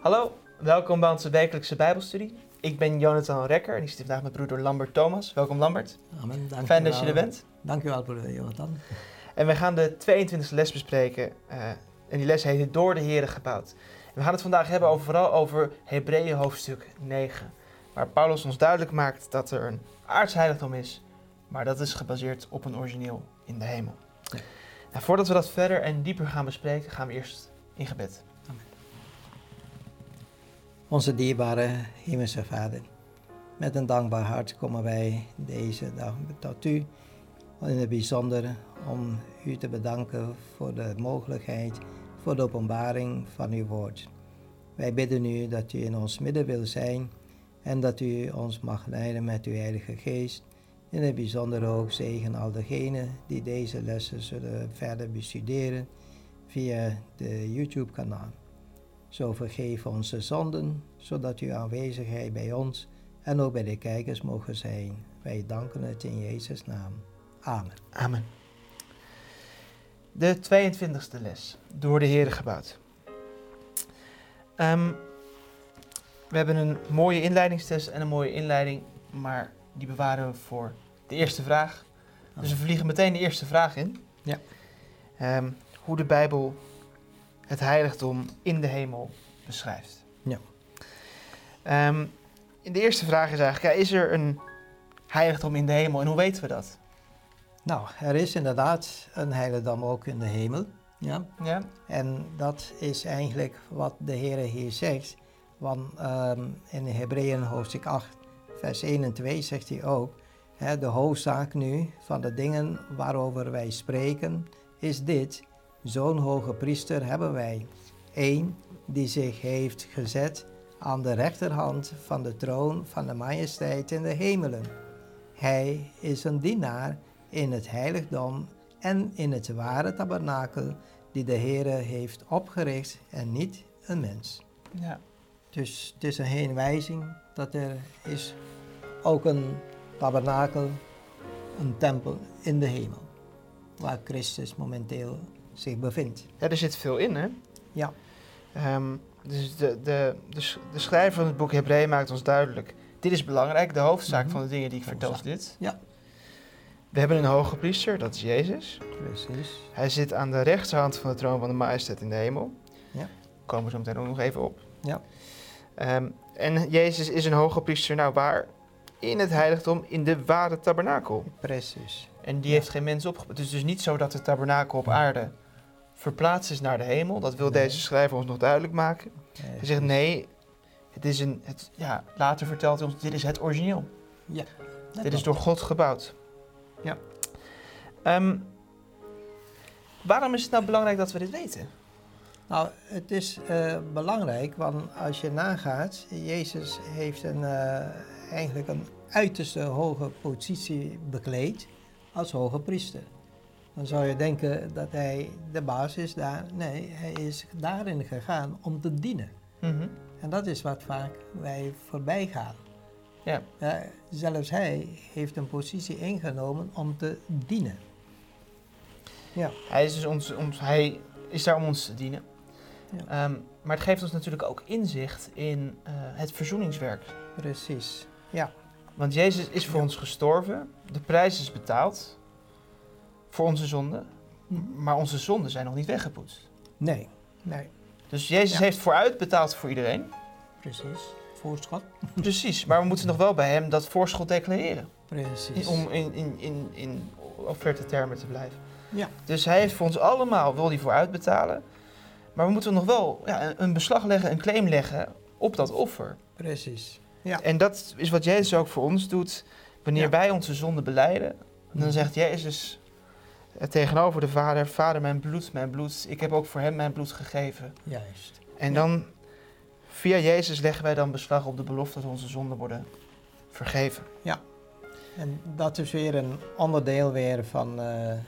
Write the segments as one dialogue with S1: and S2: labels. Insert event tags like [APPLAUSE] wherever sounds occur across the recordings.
S1: Hallo, welkom bij onze wekelijkse Bijbelstudie. Ik ben Jonathan Rekker en ik zit vandaag met broeder Lambert Thomas. Welkom Lambert,
S2: Amen. Dank
S1: fijn
S2: u
S1: dat je er
S2: wel.
S1: bent.
S2: Dank u wel, broeder Jonathan.
S1: En we gaan de 22e les bespreken. eh, en die les heet het Door de Heren gebouwd. En we gaan het vandaag hebben over, vooral over Hebreeën hoofdstuk 9. Waar Paulus ons duidelijk maakt dat er een aardsheiligdom is. Maar dat is gebaseerd op een origineel in de hemel.
S2: Ja.
S1: En voordat we dat verder en dieper gaan bespreken, gaan we eerst in gebed.
S2: Onze dierbare Hemelse Vader, met een dankbaar hart komen wij deze dag tot u. In het bijzonder om u te bedanken voor de mogelijkheid, voor de openbaring van uw woord. Wij bidden u dat u in ons midden wil zijn en dat u ons mag leiden met uw Heilige Geest. In het bijzonder ook zegen al degenen die deze lessen zullen verder bestuderen via de YouTube-kanaal. Zo vergeef onze zonden, zodat uw aanwezigheid bij ons en ook bij de kijkers mogen zijn. Wij danken het in Jezus' naam. Amen.
S1: Amen. De 22e les, door de Heer gebouwd. Ehm, we hebben een mooie inleidingstest en een mooie inleiding, maar die bewaren we voor de eerste vraag. Dus we vliegen meteen de eerste vraag in.
S2: Ja.
S1: Ehm, hoe de Bijbel het heiligdom in de hemel beschrijft.
S2: Ja.
S1: Ehm, de eerste vraag is eigenlijk, ja, is er een heiligdom in de hemel en hoe weten we dat?
S2: Nou, er is inderdaad een heiligdom ook in de hemel. Ja.
S1: Ja?
S2: En dat is eigenlijk wat de Heer hier zegt. Want ehm, in Hebreeën hoofdstuk 8, vers 1 en 2 zegt hij ook: hè, De hoofdzaak nu van de dingen waarover wij spreken is dit: Zo'n hoge priester hebben wij. Eén die zich heeft gezet aan de rechterhand van de troon van de majesteit in de hemelen. Hij is een dienaar in het heiligdom en in het ware tabernakel die de Heere heeft opgericht en niet een mens.
S1: Ja.
S2: Dus het is een heenwijzing dat er is ook een tabernakel, een tempel in de hemel, waar Christus momenteel zich bevindt.
S1: Ja, er zit veel in, hè?
S2: Ja.
S1: Ehm, dus de, de, de, s- de schrijver van het boek Hebreeën maakt ons duidelijk. Dit is belangrijk, de hoofdzaak
S2: Mhm.
S1: van de dingen die ik vertel is
S2: Hoofdzaak.
S1: dit.
S2: Ja.
S1: We hebben een hoge priester, dat is Jezus.
S2: Precies.
S1: Hij zit aan de rechterhand van de troon van de majesteit in de hemel.
S2: Ja.
S1: Komen we zo meteen ook nog even op.
S2: Ja.
S1: Ehm, en Jezus is een hoge priester, nou waar? In het heiligdom, in de ware tabernakel.
S2: Precies.
S1: En die
S2: Ja.
S1: heeft geen mens op. Het is dus niet zo dat de tabernakel op aarde verplaatst is naar de hemel. Dat wil
S2: Nee.
S1: deze schrijver ons nog duidelijk maken. Hij zegt nee, het is een. Het, ja, later vertelt hij ons: dit is het origineel. dit is door God gebouwd.
S2: Ja.
S1: Ehm, waarom is het nou belangrijk dat we dit weten?
S2: Nou, het is eh, belangrijk, want als je nagaat, Jezus heeft een, eh, eigenlijk een uiterste hoge positie bekleed als hoge priester. Dan zou je denken dat hij de baas is daar. Nee, hij is daarin gegaan om te dienen. En dat is wat vaak wij voorbij gaan.
S1: Ja.
S2: Eh, zelfs hij heeft een positie ingenomen om te dienen.
S1: Hij, is dus ons, ons, hij is daar om ons te dienen.
S2: Ja.
S1: Ehm, maar het geeft ons natuurlijk ook inzicht in eh, het verzoeningswerk.
S2: Precies.
S1: Want Jezus is voor
S2: Ja.
S1: ons gestorven, de prijs is betaald voor onze zonden,
S2: Mhm.
S1: maar onze zonden zijn nog niet weggepoetst.
S2: Nee, nee,
S1: Dus Jezus
S2: Ja.
S1: heeft vooruit betaald voor
S2: [LAUGHS]
S1: iedereen.
S2: precies. Voorschot.
S1: Precies, maar we moeten nog wel bij hem dat voorschot declareren.
S2: Precies.
S1: Om in, in, in, in offerte termen te blijven.
S2: Ja.
S1: Dus hij heeft voor ons allemaal, wil hij vooruit betalen. Maar we moeten nog wel ja, een- een beslag leggen, een claim leggen op dat offer.
S2: Precies.
S1: En dat is wat Jezus ook voor ons doet. Wanneer
S2: Ja.
S1: wij onze zonde beleiden,
S2: Mm.
S1: dan zegt Jezus eh, tegenover de Vader: Vader, mijn bloed, mijn bloed. Ik heb ook voor hem mijn bloed gegeven.
S2: Juist.
S1: En
S2: Ja.
S1: dan, via Jezus, leggen wij dan beslag op de belofte dat onze zonden worden vergeven.
S2: En dat is weer een onderdeel weer van eh, eh,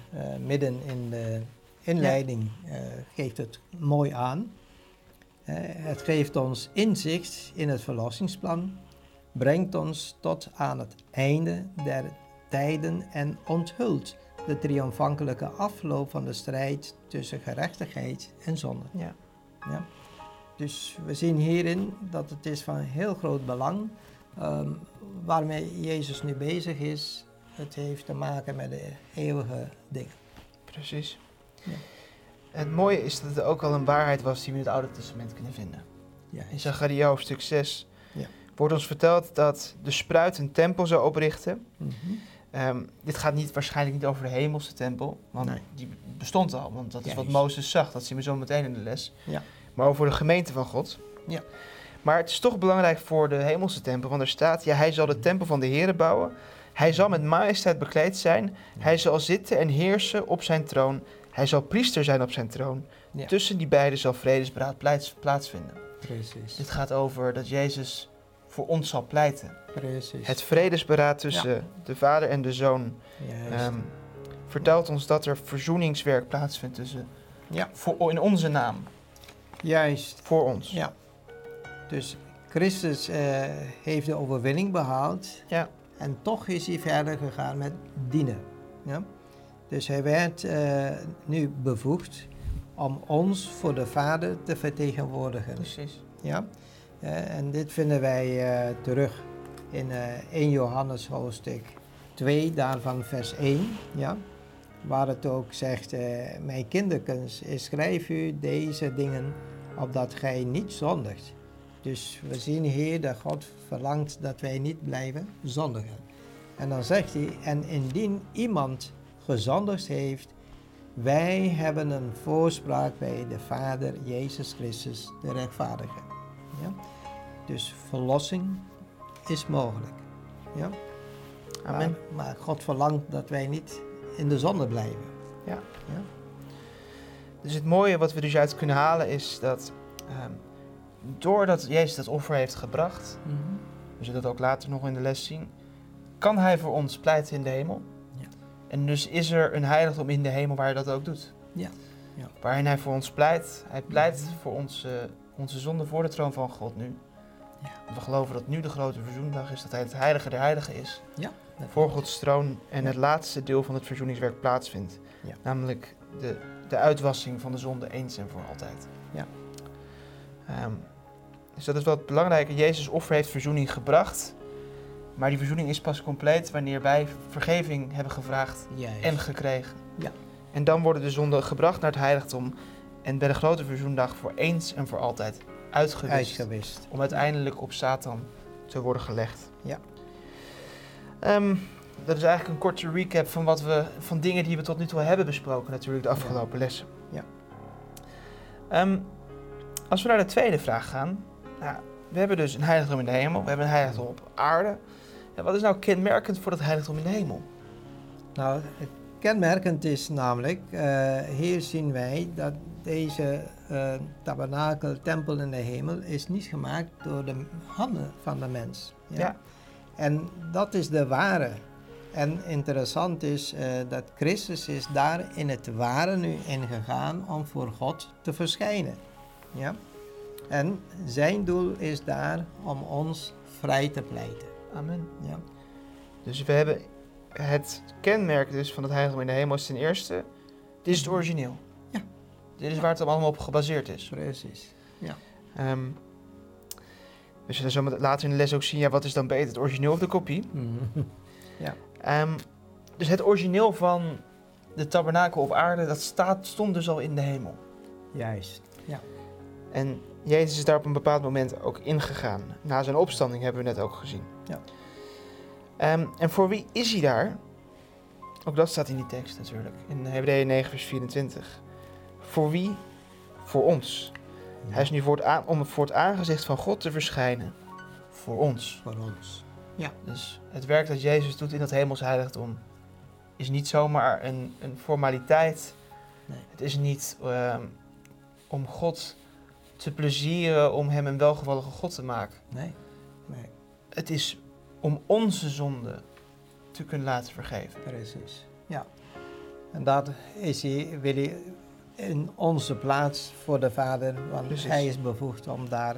S2: midden in de inleiding eh, geeft het mooi aan. Eh, het geeft ons inzicht in het verlossingsplan, brengt ons tot aan het einde der tijden en onthult de triomfantelijke afloop van de strijd tussen gerechtigheid en zonde.
S1: Ja.
S2: Ja. Dus we zien hierin dat het is van heel groot belang ehm, waarmee Jezus nu bezig is. Het heeft te maken met de eeuwige dingen.
S1: Precies.
S2: Ja.
S1: Het mooie is dat het ook al een waarheid was die we in het Oude Testament kunnen vinden. In Zacharia hoofdstuk 6
S2: Ja.
S1: wordt ons verteld dat de spruit een tempel zou oprichten.
S2: Mhm.
S1: Ehm, dit gaat niet, waarschijnlijk niet over de hemelse tempel, want
S2: Nee.
S1: die bestond al. Want dat is wat
S2: Juist.
S1: Mozes zag, dat zien we zo meteen in de les.
S2: Ja.
S1: Maar over de gemeente van God.
S2: Ja.
S1: Maar het is toch belangrijk voor de hemelse tempel, want er staat... Ja, hij zal de tempel van de Heere bouwen. Hij zal met majesteit bekleed zijn. Hij zal zitten en heersen op zijn troon. Hij zal priester zijn op zijn troon.
S2: Ja.
S1: Tussen die beiden zal vredesbraad plaats- plaatsvinden.
S2: Precies.
S1: Dit gaat over dat Jezus voor ons zal pleiten.
S2: Precies.
S1: Het vredesberaad tussen de vader en de zoon...
S2: Juist.
S1: Ehm vertelt ons dat er verzoeningswerk plaatsvindt tussen.
S2: Ja.
S1: Voor, in onze naam,
S2: Juist.
S1: voor ons.
S2: Ja. Dus Christus eh, heeft de overwinning behaald.
S1: Ja.
S2: En toch is hij verder gegaan met dienen. Ja? Dus hij werd eh, nu bevoegd om ons voor de Vader te vertegenwoordigen.
S1: Precies.
S2: Ja? Eh, en dit vinden wij eh, terug in eh, 1 Johannes hoofdstuk 2, daarvan vers 1. Ja? Waar het ook zegt, eh, mijn kinderkens, ik schrijf u deze dingen opdat gij niet zondigt. Dus we zien hier dat God verlangt dat wij niet blijven zondigen. En dan zegt hij, en indien iemand gezondigd heeft, wij hebben een voorspraak bij de Vader Jezus Christus, de rechtvaardige. Ja? Dus verlossing is mogelijk. Ja?
S1: Amen.
S2: Maar, maar God verlangt dat wij niet in de zonde blijven.
S1: Dus het mooie wat we dus uit kunnen halen is dat. ehm, doordat Jezus dat offer heeft gebracht. We zullen dat ook later nog in de les zien. Kan hij voor ons pleiten in de hemel.
S2: Ja.
S1: En dus is er een heiligdom in de hemel waar hij dat ook doet.
S2: Ja. Ja.
S1: Waarin hij voor ons pleit. Hij pleit
S2: Mhm.
S1: voor onze, onze zonde voor de troon van God nu.
S2: Ja.
S1: We geloven dat nu de grote verzoendag is. Dat hij het heilige der heiligen is.
S2: Dat-
S1: voor Gods troon en
S2: Ja.
S1: het laatste deel van het verzoeningswerk plaatsvindt.
S2: Ja.
S1: Namelijk de, de uitwassing van de zonde eens en voor altijd.
S2: Ja.
S1: Ehm, dus dat is wel het belangrijke. Jezus offer heeft verzoening gebracht. Maar die verzoening is pas compleet wanneer wij vergeving hebben gevraagd
S2: Juist.
S1: en gekregen.
S2: Ja.
S1: En dan worden de zonden gebracht naar het heiligdom. En bij de grote verzoendag voor eens en voor altijd uitgewist
S2: uitgewist.
S1: om uiteindelijk op Satan te worden gelegd.
S2: Ja.
S1: Ehm, dat is eigenlijk een korte recap van, wat we, van dingen die we tot nu toe hebben besproken, natuurlijk de afgelopen lessen.
S2: Ja.
S1: Ehm, als we naar de tweede vraag gaan. Nou, we hebben dus een heiligdom in de hemel, we hebben een heiligdom op aarde. En wat is nou kenmerkend voor dat heiligdom in de hemel?
S2: Nou, het kenmerkend is namelijk, eh, hier zien wij dat deze eh, tabernakel, tempel in de hemel, is niet gemaakt door de handen van de mens.
S1: Ja.
S2: En dat is de ware. En interessant is eh, dat Christus is daar in het ware nu ingegaan om voor God te verschijnen. Ja? En zijn doel is daar om ons vrij te pleiten.
S1: Amen.
S2: Ja?
S1: Dus we hebben het kenmerk dus van het heiligdom in de hemel is ten eerste, dit is het origineel.
S2: Ja.
S1: Dit is waar het allemaal op gebaseerd is.
S2: Precies.
S1: Ehm, we zullen zo met- later in de les ook zien, ja, wat is dan beter, het origineel of de kopie? Mhm. Ehm, dus het origineel van de tabernakel op aarde, dat staat, stond dus al in de hemel.
S2: Juist.
S1: En Jezus is daar op een bepaald moment ook ingegaan. Na zijn opstanding hebben we net ook gezien.
S2: Ja.
S1: Ehm, en voor wie is hij daar? Ook dat staat in die tekst natuurlijk, in Hebreeën 9 vers 24. Voor wie? Voor ons. Hij is nu voor het, aan- om voor het aangezicht van God te verschijnen. Voor ons.
S2: voor ons.
S1: Dus het werk dat Jezus doet in dat hemels heiligdom is niet zomaar een, een formaliteit.
S2: Nee.
S1: Het is niet ehm, om God te plezieren, om Hem een welgevallige God te maken.
S2: Nee. Nee,
S1: Het is om onze zonde te kunnen laten vergeven.
S2: precies. Ja. En dat is hij, wil hij in onze plaats voor de Vader, want
S1: Precies.
S2: hij is bevoegd om daar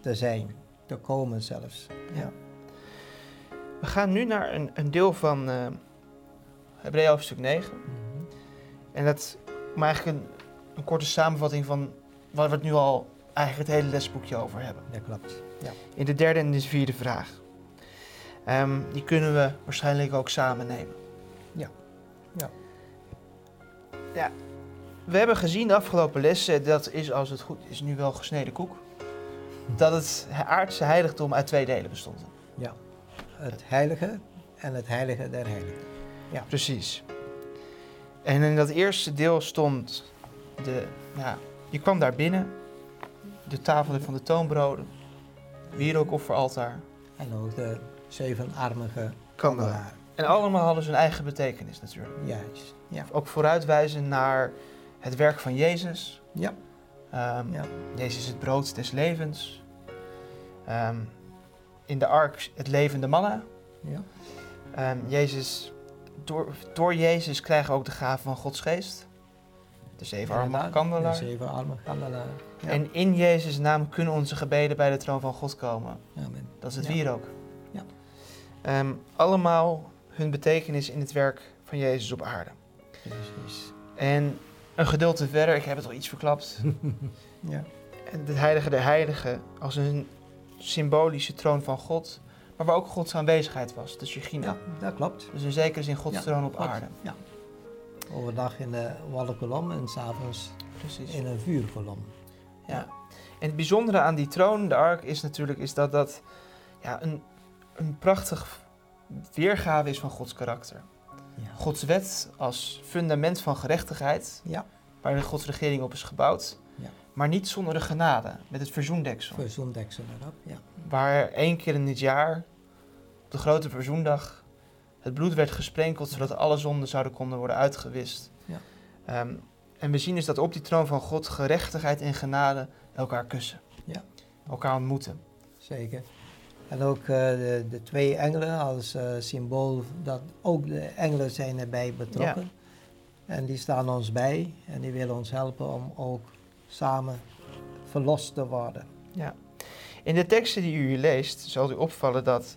S2: te zijn, te komen zelfs. Ja.
S1: We gaan nu naar een, een deel van uh, Hebreeën hoofdstuk 9. En dat om eigenlijk een, een korte samenvatting van wat we het nu al eigenlijk het hele lesboekje over hebben.
S2: Dat klopt.
S1: In de derde en de vierde vraag. Ehm, die kunnen we waarschijnlijk ook samen nemen.
S2: Ja. Ja.
S1: Ja. We hebben gezien de afgelopen lessen, dat is als het goed is nu wel gesneden koek, dat het aardse heiligdom uit twee delen bestond.
S2: Het heilige en het heilige der heiligen.
S1: Precies. En in dat eerste deel stond de. Nou, je kwam daar binnen. De tafel van de toonbroden. Wierookofferaltaar.
S2: En ook de zevenarmige
S1: Kandelaar.
S2: kandelaar.
S1: En allemaal hadden zijn eigen betekenis natuurlijk.
S2: Juist. Ja.
S1: Ook vooruitwijzen naar het werk van Jezus.
S2: Ja.
S1: Ehm,
S2: Ja.
S1: Deze is het brood des levens. Ehm, in de ark het levende manna.
S2: ja.
S1: Ehm, Jezus, door, door Jezus krijgen we ook de gave van Gods geest. De zevenarmige
S2: Inderdaad,
S1: kandelaar.
S2: De zevenarmige kandelaar. Ja.
S1: En in Jezus' naam kunnen onze gebeden bij de troon van God komen.
S2: Amen.
S1: Dat is het
S2: Ja.
S1: wierook.
S2: Ja.
S1: Ehm, allemaal hun betekenis in het werk van Jezus op aarde.
S2: Precies.
S1: En een gedeelte verder, ik heb het al iets
S2: [LAUGHS]
S1: verklapt.
S2: Ja.
S1: Het heilige der heiligen als een symbolische troon van God, maar waar ook Gods aanwezigheid was, de Shechina.
S2: ja, dat klopt.
S1: Dus in zekere zin Gods
S2: Ja,
S1: troon op
S2: God.
S1: aarde.
S2: Ja. Overdag in de wallenkolom en s'avonds
S1: Precies.
S2: in een vuurkolom.
S1: Ja. En het bijzondere aan die troon, de ark, is natuurlijk is dat dat ja, een, een prachtig weergave is van Gods karakter.
S2: Ja.
S1: Gods wet als fundament van gerechtigheid,
S2: Ja.
S1: waar de Gods regering op is gebouwd.
S2: Ja.
S1: Maar niet zonder de genade, met het verzoendeksel.
S2: Verzoendeksel erop, ja.
S1: Waar één keer in het jaar, op de grote verzoendag, het bloed werd gesprenkeld zodat alle zonden zouden konden worden uitgewist.
S2: Ja.
S1: Ehm, en we zien dus dat op die troon van God gerechtigheid en genade elkaar kussen.
S2: Ja.
S1: Elkaar ontmoeten.
S2: Zeker. En ook eh, de, de twee engelen als eh, symbool dat ook de engelen zijn erbij betrokken. En die staan ons bij en die willen ons helpen om ook samen verlost te worden.
S1: In de teksten die u hier leest, zal u opvallen dat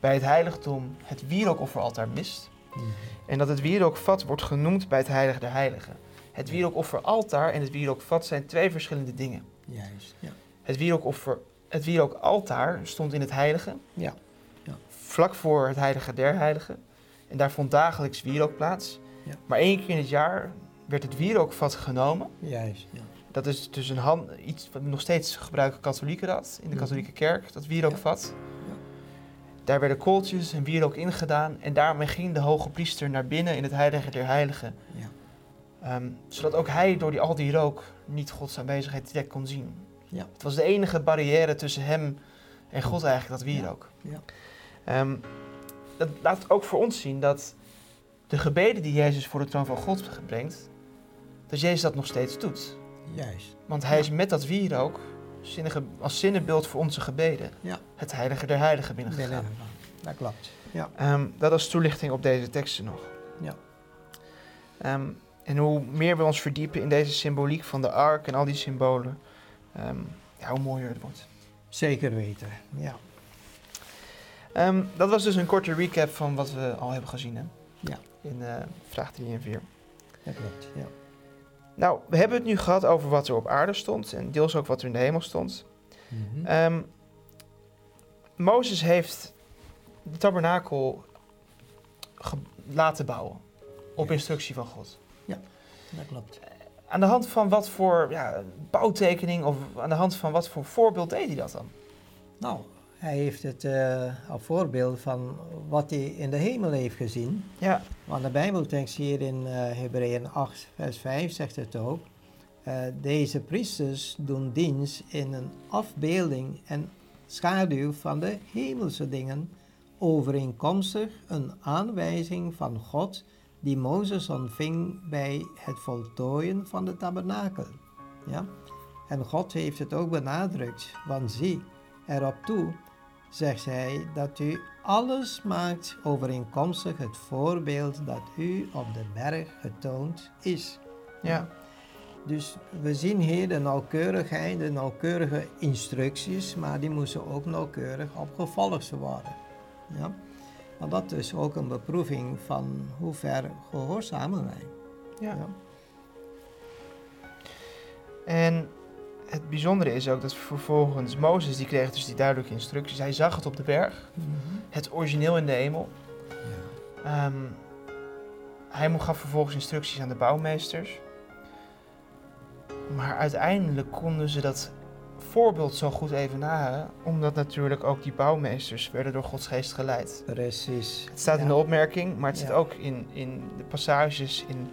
S1: bij het heiligdom het wierookofferaltaar mist.
S2: Mhm.
S1: En dat het wierookvat wordt genoemd bij het heilige der heiligen. Het wierookofferaltaar en het wierookvat zijn twee verschillende dingen.
S2: Juist, ja.
S1: Het, wierookoffer, het wierookaltaar stond in het heilige,
S2: Ja,
S1: vlak voor het heilige der heiligen. En daar vond dagelijks wierook plaats.
S2: Ja.
S1: Maar één keer in het jaar werd het wierookvat genomen.
S2: juist. Ja.
S1: Dat is dus een hand, iets wat nog steeds gebruiken katholieken dat, in de
S2: Mhm.
S1: katholieke kerk, dat wierookvat.
S2: Ja.
S1: Daar werden kooltjes en wierook ingedaan en daarmee ging de hoge priester naar binnen in het heilige der heiligen.
S2: Ja.
S1: Ehm, zodat ook hij door die, al die rook niet Gods aanwezigheid direct kon zien.
S2: Ja.
S1: Het was de enige barrière tussen hem en God eigenlijk, dat wierook.
S2: Ja.
S1: Ehm, dat laat ook voor ons zien dat de gebeden die Jezus voor de troon van God brengt, dat Jezus dat nog steeds doet.
S2: Juist,
S1: Want hij is met dat wierook zinnige, als zinnenbeeld voor onze gebeden.
S2: Ja.
S1: Het heilige der heiligen binnengegaan.
S2: binnen. Dat klopt. Ja,
S1: Ehm, dat als toelichting op deze teksten nog.
S2: Ja.
S1: Ehm, en hoe meer we ons verdiepen in deze symboliek van de ark en al die symbolen, ehm, ja, hoe mooier het wordt.
S2: zeker weten. Ja,
S1: Ehm, dat was dus een korte recap van wat we al hebben gezien hè?
S2: Ja.
S1: in eh, vraag 3 en 4.
S2: dat klopt. Ja.
S1: Nou, we hebben het nu gehad over wat er op aarde stond en deels ook wat er in de hemel stond.
S2: Mhm.
S1: Ehm, Mozes heeft de tabernakel ge- laten bouwen op
S2: Ja.
S1: instructie van God.
S2: Dat klopt.
S1: Aan de hand van wat voor ja, bouwtekening of aan de hand van wat voor voorbeeld deed hij dat dan?
S2: Nou, hij heeft het eh als voorbeeld van wat hij in de hemel heeft gezien.
S1: Ja,
S2: Want de Bijbeltekst hier in eh Hebreeën 8, vers 5 zegt het ook. eh, deze priesters doen dienst in een afbeelding en schaduw van de hemelse dingen, overeenkomstig een aanwijzing van God die Mozes ontving bij het voltooien van de tabernakel. Ja? En God heeft het ook benadrukt, want zie, erop toe zegt hij dat u alles maakt overeenkomstig het voorbeeld dat u op de berg getoond is.
S1: ja,
S2: Dus we zien hier de nauwkeurigheid, de nauwkeurige instructies, maar die moesten ook nauwkeurig opgevolgd worden. Ja? Want dat is ook een beproeving van hoe ver gehoorzamen wij.
S1: ja. En het bijzondere is ook dat vervolgens Mozes, die kreeg dus die duidelijke instructies. Hij zag het op de berg, het origineel in de hemel.
S2: Ja.
S1: Ehm, hij mo- gaf vervolgens instructies aan de bouwmeesters. Maar uiteindelijk konden ze dat voorbeeld zo goed even nahouden, omdat natuurlijk ook die bouwmeesters werden door Gods geest geleid.
S2: Precies.
S1: Het staat in de opmerking, maar het zit
S2: Ja.
S1: ook in, in de passages in,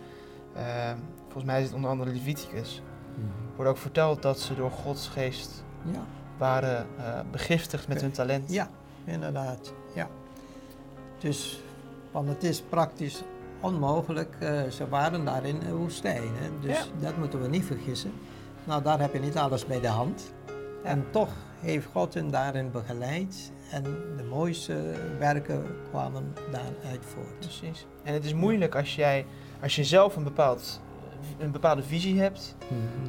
S1: ehm, volgens mij is het onder andere Leviticus, wordt ook verteld dat ze door Gods geest
S2: Mhm. Ja.
S1: waren eh, begiftigd met hun talent.
S2: Ja, inderdaad. Ja. Dus, want het is praktisch onmogelijk. eh, ze waren daar in de woestijn. Hè? Dus dat moeten we niet vergissen. Nou, daar heb je niet alles bij de hand. En toch heeft God hen daarin begeleid. En de mooiste werken kwamen daaruit voort.
S1: Precies. En het is moeilijk als jij, als je zelf een, bepaald, een bepaalde visie hebt,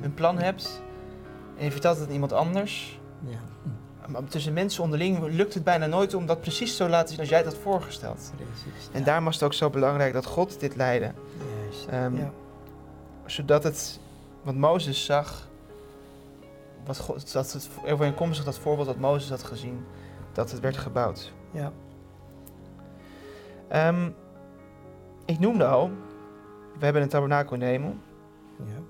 S1: een plan hebt, en je vertelt het aan iemand anders.
S2: Ja,
S1: Maar tussen mensen onderling lukt het bijna nooit om dat precies zo te laten zien als jij dat voorgesteld.
S2: precies.
S1: En
S2: Ja,
S1: daarom was het ook zo belangrijk dat God dit leidde.
S2: Juist.
S1: Ehm,
S2: ja.
S1: Zodat het, want Mozes zag, wat God, dat het overeenkomstig dat voorbeeld dat Mozes had gezien, dat het werd gebouwd.
S2: ja.
S1: Ehm, ik noemde al, we hebben een tabernakel in de hemel.
S2: ja.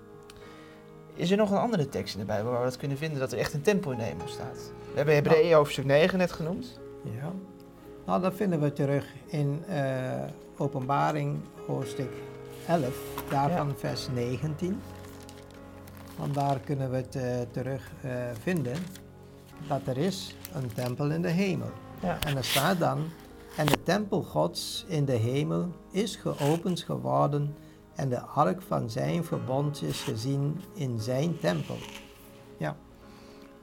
S1: Is er nog een andere tekst in de Bijbel waar we dat kunnen vinden dat er echt een tempel in de hemel staat? We hebben Hebreeën hoofdstuk 9 net genoemd.
S2: Ja. Nou, dat vinden we terug in eh, Openbaring hoofdstuk 11, daarvan vers 19. Want daar kunnen we het eh, terug eh, vinden dat er is een tempel in de hemel.
S1: Ja.
S2: En er staat dan, en de tempel gods in de hemel is geopend geworden en de ark van zijn verbond is gezien in zijn tempel. Ja,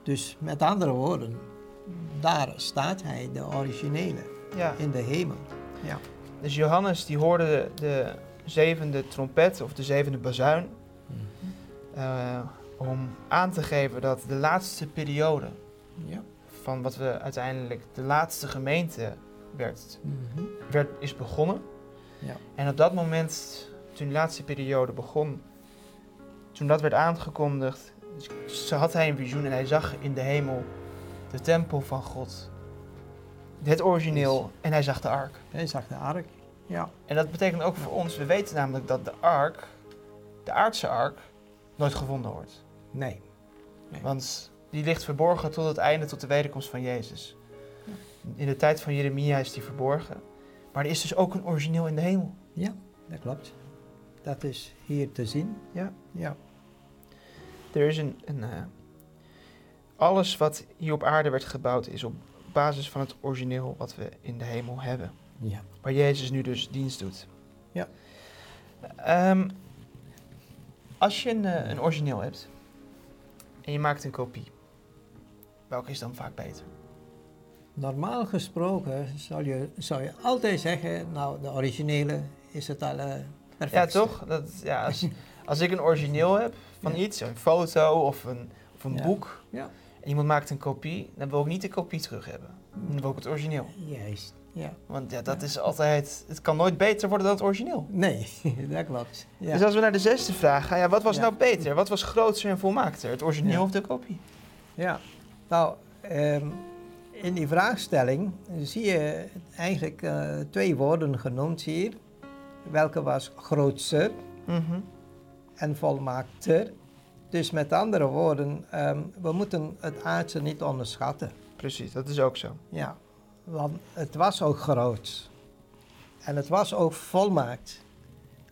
S2: dus met andere woorden, daar staat hij, de originele,
S1: Ja.
S2: in de hemel. Ja,
S1: Dus Johannes die hoorde de, de zevende trompet of de zevende bazuin eh, om aan te geven dat de laatste periode
S2: ja.
S1: van wat we uiteindelijk de laatste gemeente werd, werd is begonnen.
S2: Ja.
S1: En op dat moment, toen de laatste periode begon, toen dat werd aangekondigd, dus had hij een visioen en hij zag in de hemel de tempel van God. Het origineel en hij zag de ark.
S2: Hij zag de ark. Ja,
S1: En dat betekent ook voor ons, we weten namelijk dat de ark, de aardse ark, nooit gevonden wordt.
S2: nee.
S1: Want die ligt verborgen tot het einde, tot de wederkomst van Jezus. In de tijd van Jeremia is die verborgen. Maar er is dus ook een origineel in de hemel.
S2: Ja, dat klopt. Dat is hier te zien.
S1: Ja.
S2: Ja.
S1: Er is een. een eh, alles wat hier op aarde werd gebouwd is op basis van het origineel wat we in de hemel hebben.
S2: Ja.
S1: Waar Jezus nu dus dienst doet.
S2: Ja.
S1: Ehm, als je een, eh, een origineel hebt en je maakt een kopie, welke is dan vaak beter?
S2: Normaal gesproken zou je, zou je altijd zeggen, nou, de originele is het eh, alle
S1: Ja,
S2: perfectste.
S1: toch? Dat, ja,
S2: [LAUGHS]
S1: als, als ik een origineel heb van
S2: Ja.
S1: iets, een foto of een, of een
S2: Ja.
S1: boek,
S2: Ja.
S1: en iemand maakt een kopie, dan wil ik niet de kopie terug hebben. Dan wil ik het origineel.
S2: Juist. Ja.
S1: Want ja, dat
S2: Ja.
S1: is altijd, het kan nooit beter worden dan het origineel.
S2: Nee, [LAUGHS] dat klopt. Ja.
S1: Dus als we naar de zesde vraag gaan, ja, wat was
S2: Ja.
S1: nou beter? Wat was grootser en volmaakter? Het origineel
S2: Ja.
S1: of de kopie?
S2: Ja, nou, ehm, in die vraagstelling zie je eigenlijk eh, twee woorden genoemd hier. Welke was grootser
S1: Mhm.
S2: en volmaakter. Dus met andere woorden, ehm, we moeten het aardse niet onderschatten.
S1: Precies, dat is ook zo.
S2: Ja, want het was ook groot. En het was ook volmaakt.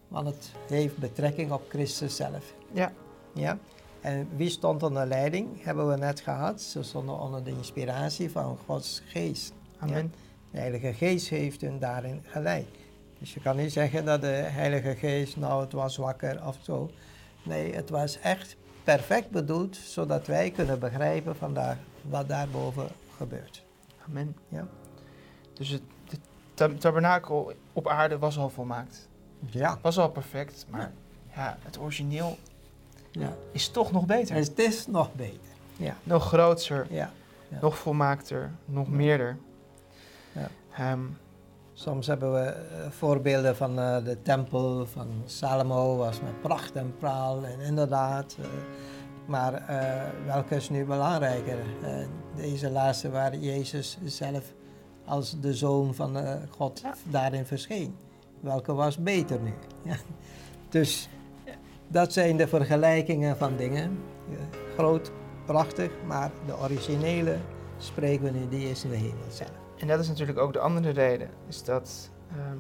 S2: Want het heeft betrekking op Christus zelf.
S1: Ja.
S2: Ja. En wie stond onder leiding? Hebben we net gehad. Ze stonden onder de inspiratie van Gods geest.
S1: Amen.
S2: De Heilige Geest heeft hun daarin geleid. Dus je kan niet zeggen dat de Heilige Geest, nou het was wakker of zo. Nee, het was echt perfect bedoeld, zodat wij kunnen begrijpen vandaag wat daarboven gebeurt.
S1: Amen.
S2: Ja.
S1: Dus het de tab- tabernakel op aarde was al volmaakt.
S2: Ja.
S1: Was al perfect, maar ja, het origineel
S2: Ja.
S1: is toch nog beter.
S2: Dus het is nog beter.
S1: Nog grootser,
S2: Ja.
S1: nog volmaakter, nog
S2: Ja.
S1: meerder.
S2: Ja.
S1: Ehm,
S2: Soms hebben we eh, voorbeelden van eh, de tempel van Salomo, was met pracht en praal en inderdaad. eh, Maar eh, welke is nu belangrijker? Eh, deze laatste waar Jezus zelf als de zoon van eh, God
S1: Ja.
S2: daarin verscheen. Welke was beter nu? Ja. Dus dat zijn de vergelijkingen van dingen. Ja, Groot, prachtig, maar de originele spreken we nu, die is in de hemel zelf.
S1: En dat is natuurlijk ook de andere reden, is dat ehm,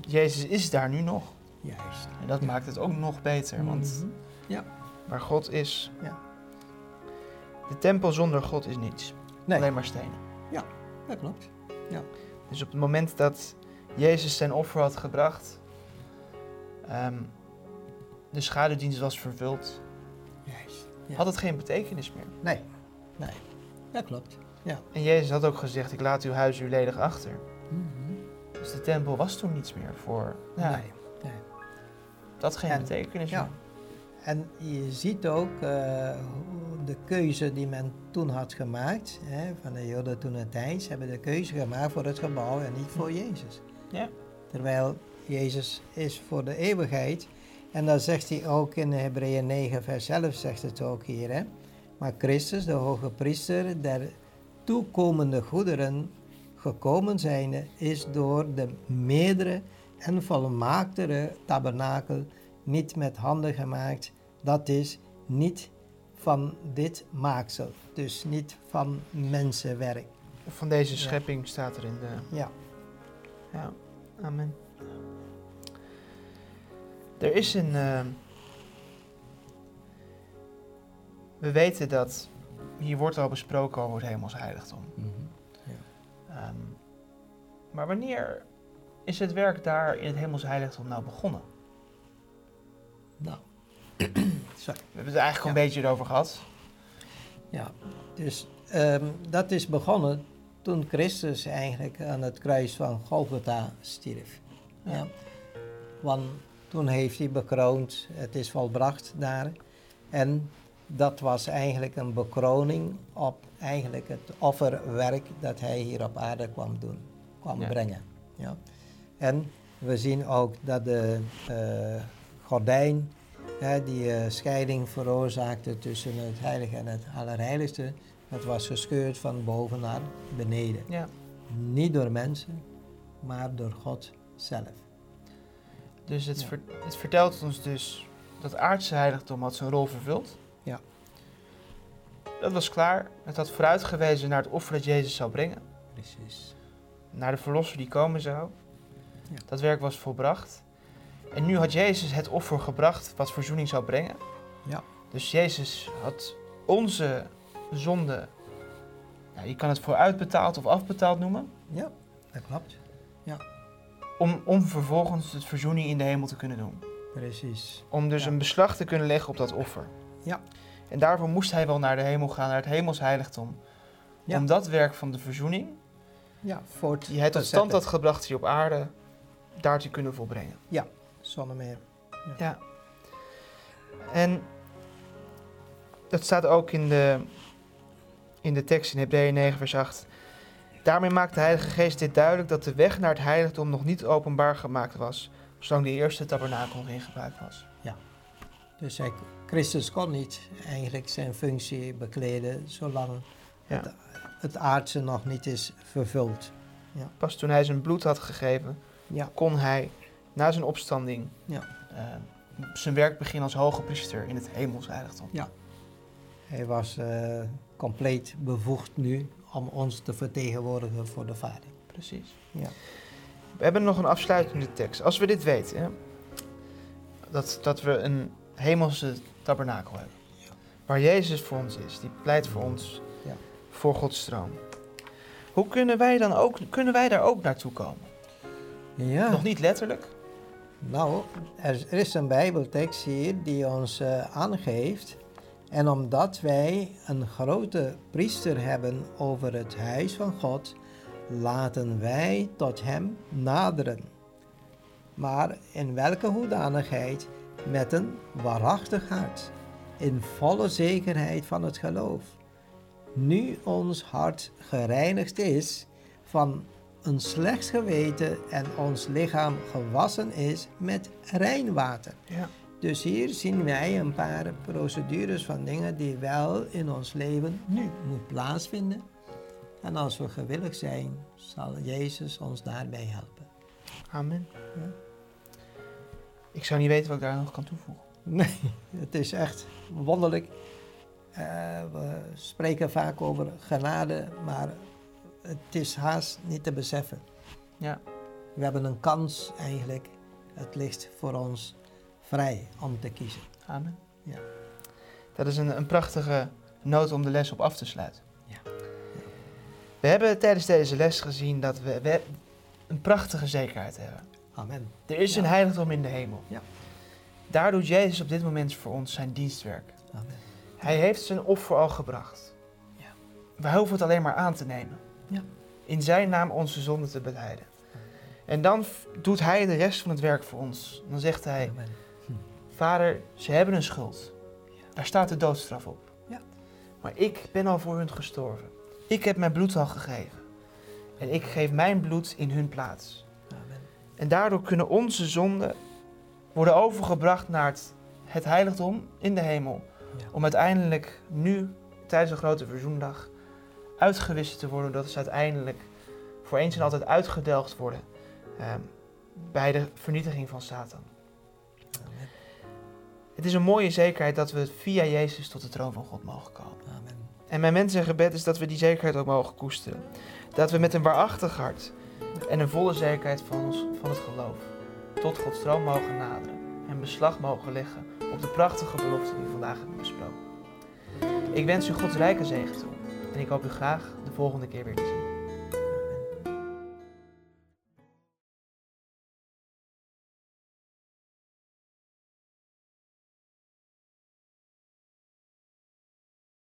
S1: Jezus is daar nu nog.
S2: Juist.
S1: En dat maakt het ook nog beter, want
S2: Mhm.
S1: waar God is,
S2: Ja.
S1: de tempel zonder God is niets.
S2: Nee.
S1: Alleen maar stenen.
S2: Dat klopt.
S1: Dus op het moment dat Jezus zijn offer had gebracht, ehm, de schaduwdienst was vervuld,
S2: Juist. Ja.
S1: had het geen betekenis meer.
S2: Nee, nee. Dat klopt.
S1: En Jezus had ook gezegd, ik laat uw huis uw ledig achter. Dus de tempel was toen niets meer voor. Ja,
S2: Nee.
S1: Dat geen
S2: En-
S1: betekenis
S2: ja.
S1: meer.
S2: En je ziet ook eh, hoe de keuze die men toen had gemaakt, hè, van de Joden toen en tijds, hebben de keuze gemaakt voor het gebouw en niet voor Jezus.
S1: Ja.
S2: Terwijl Jezus is voor de eeuwigheid. En dan zegt hij ook in Hebreeën 9, vers 11, zegt het ook hier. Hè, maar Christus, de hoge priester der toekomende goederen, gekomen zijnde, is door de meerdere en volmaaktere tabernakel niet met handen gemaakt. Dat is niet van dit maaksel, dus niet van mensenwerk.
S1: Van deze
S2: Ja.
S1: schepping staat er in de...
S2: Ja.
S1: Ja, amen. Er is een... ehm, we weten dat... Hier wordt al besproken over het hemels heiligdom. Ehm, maar wanneer is het werk daar in het hemels heiligdom nou begonnen?
S2: Nou, [CLEARS THROAT] sorry.
S1: We hebben het eigenlijk al een beetje erover gehad.
S2: Ja, dus ehm, dat is begonnen toen Christus eigenlijk aan het kruis van Golgotha stierf. Ja.
S1: Ja.
S2: Want toen heeft hij bekroond, het is volbracht daar. En dat was eigenlijk een bekroning op eigenlijk het offerwerk dat hij hier op aarde kwam doen, kwam
S1: Ja.
S2: brengen. Ja. En we zien ook dat de eh, gordijn hè, die eh, scheiding veroorzaakte tussen het heilige en het allerheiligste, dat was gescheurd van boven naar beneden.
S1: Ja.
S2: Niet door mensen, maar door God zelf.
S1: Dus het,
S2: Ja.
S1: ver- het vertelt ons dus dat aardse heiligdom had zijn rol vervuld.
S2: Ja.
S1: Dat was klaar. Het had vooruitgewezen naar het offer dat Jezus zou brengen.
S2: Precies.
S1: Naar de verlosser die komen zou.
S2: Ja.
S1: Dat werk was volbracht. En nu had Jezus het offer gebracht wat verzoening zou brengen.
S2: Ja.
S1: Dus Jezus had onze zonde, nou, je kan het vooruitbetaald of afbetaald noemen.
S2: Ja, dat klopt.
S1: Om, om vervolgens het verzoening in de hemel te kunnen doen.
S2: Precies.
S1: Om dus
S2: Ja.
S1: een beslag te kunnen leggen op dat offer.
S2: Ja.
S1: En daarvoor moest hij wel naar de hemel gaan, naar het hemelsheiligdom.
S2: Ja.
S1: Om dat werk van de verzoening,
S2: Ja, voort.
S1: die hij tot stand had gebracht hier op aarde, daar te kunnen volbrengen.
S2: Zonder meer.
S1: En dat staat ook in de, in de tekst in Hebreeën 9 vers 8. Daarmee maakt de Heilige Geest dit duidelijk dat de weg naar het heiligdom nog niet openbaar gemaakt was, zolang de eerste tabernakel nog in gebruik was.
S2: Dus hij, Christus kon niet eigenlijk zijn functie bekleden zolang
S1: Ja.
S2: het, het aardse nog niet is vervuld.
S1: Pas toen hij zijn bloed had gegeven,
S2: Ja.
S1: kon hij na zijn opstanding
S2: Ja.
S1: eh, zijn werk beginnen als hoge priester in het hemels heiligdom.
S2: Hij was eh, compleet bevoegd nu om ons te vertegenwoordigen voor de Vader.
S1: Precies.
S2: Ja.
S1: We hebben nog een afsluitende tekst. Als we dit weten, hè, dat, dat we een hemelse tabernakel hebben,
S2: Ja.
S1: waar Jezus voor ons is, die pleit voor ons,
S2: Ja.
S1: voor Gods troon. Hoe kunnen wij, dan ook, kunnen wij daar ook naartoe komen?
S2: Ja.
S1: Nog niet letterlijk,
S2: Nou, er is- er is een Bijbeltekst hier die ons eh, aangeeft. En omdat wij een grote priester hebben over het huis van God, laten wij tot hem naderen. Maar in welke hoedanigheid? Met een waarachtig hart, in volle zekerheid van het geloof. Nu ons hart gereinigd is van een slecht geweten en ons lichaam gewassen is met rein water.
S1: Ja.
S2: Dus hier zien wij een paar procedures van dingen die wel in ons leven nu moet plaatsvinden. En als we gewillig zijn, zal Jezus ons daarbij helpen.
S1: Amen.
S2: Ja.
S1: Ik zou niet weten wat ik daar nog kan toevoegen.
S2: Nee, het is echt wonderlijk. Eh, we spreken vaak over genade, maar het is haast niet te beseffen.
S1: Ja.
S2: We hebben een kans eigenlijk. Het ligt voor ons vrij om te kiezen.
S1: Amen.
S2: Ja.
S1: Dat is een, een prachtige noot om de les op af te sluiten.
S2: Ja.
S1: We hebben tijdens deze les gezien dat we, we een prachtige zekerheid hebben.
S2: Amen.
S1: Er is
S2: Ja.
S1: een heiligdom in de hemel.
S2: Ja.
S1: Daar doet Jezus op dit moment voor ons zijn dienstwerk.
S2: Amen.
S1: Hij heeft zijn offer al gebracht.
S2: Ja.
S1: Wij hoeven het alleen maar aan te nemen.
S2: Ja.
S1: In zijn naam onze zonde te beleiden. En dan f- doet hij de rest van het werk voor ons. Dan zegt hij,
S2: Amen.
S1: Vader, ze hebben een schuld. Daar staat de doodstraf op.
S2: Ja.
S1: Maar ik ben al voor hun gestorven. Ik heb mijn bloed al gegeven. En ik geef mijn bloed in hun plaats.
S2: Amen.
S1: En daardoor kunnen onze zonden worden overgebracht naar het, het heiligdom in de hemel.
S2: Ja.
S1: Om uiteindelijk nu, tijdens de grote verzoendag, uitgewisseld te worden. Doordat ze uiteindelijk voor eens en altijd uitgedelgd worden eh, bij de vernietiging van Satan.
S2: Amen.
S1: Het is een mooie zekerheid dat we via Jezus tot de troon van God mogen komen.
S2: Amen.
S1: En mijn mens en gebed is dat we die zekerheid ook mogen koesteren. Dat we met een waarachtig hart en een volle zekerheid van, ons, van het geloof tot Gods troon mogen naderen en beslag mogen leggen op de prachtige belofte die we vandaag hebben besproken. Ik wens u Gods rijke zegen toe en ik hoop u graag de volgende keer weer te zien.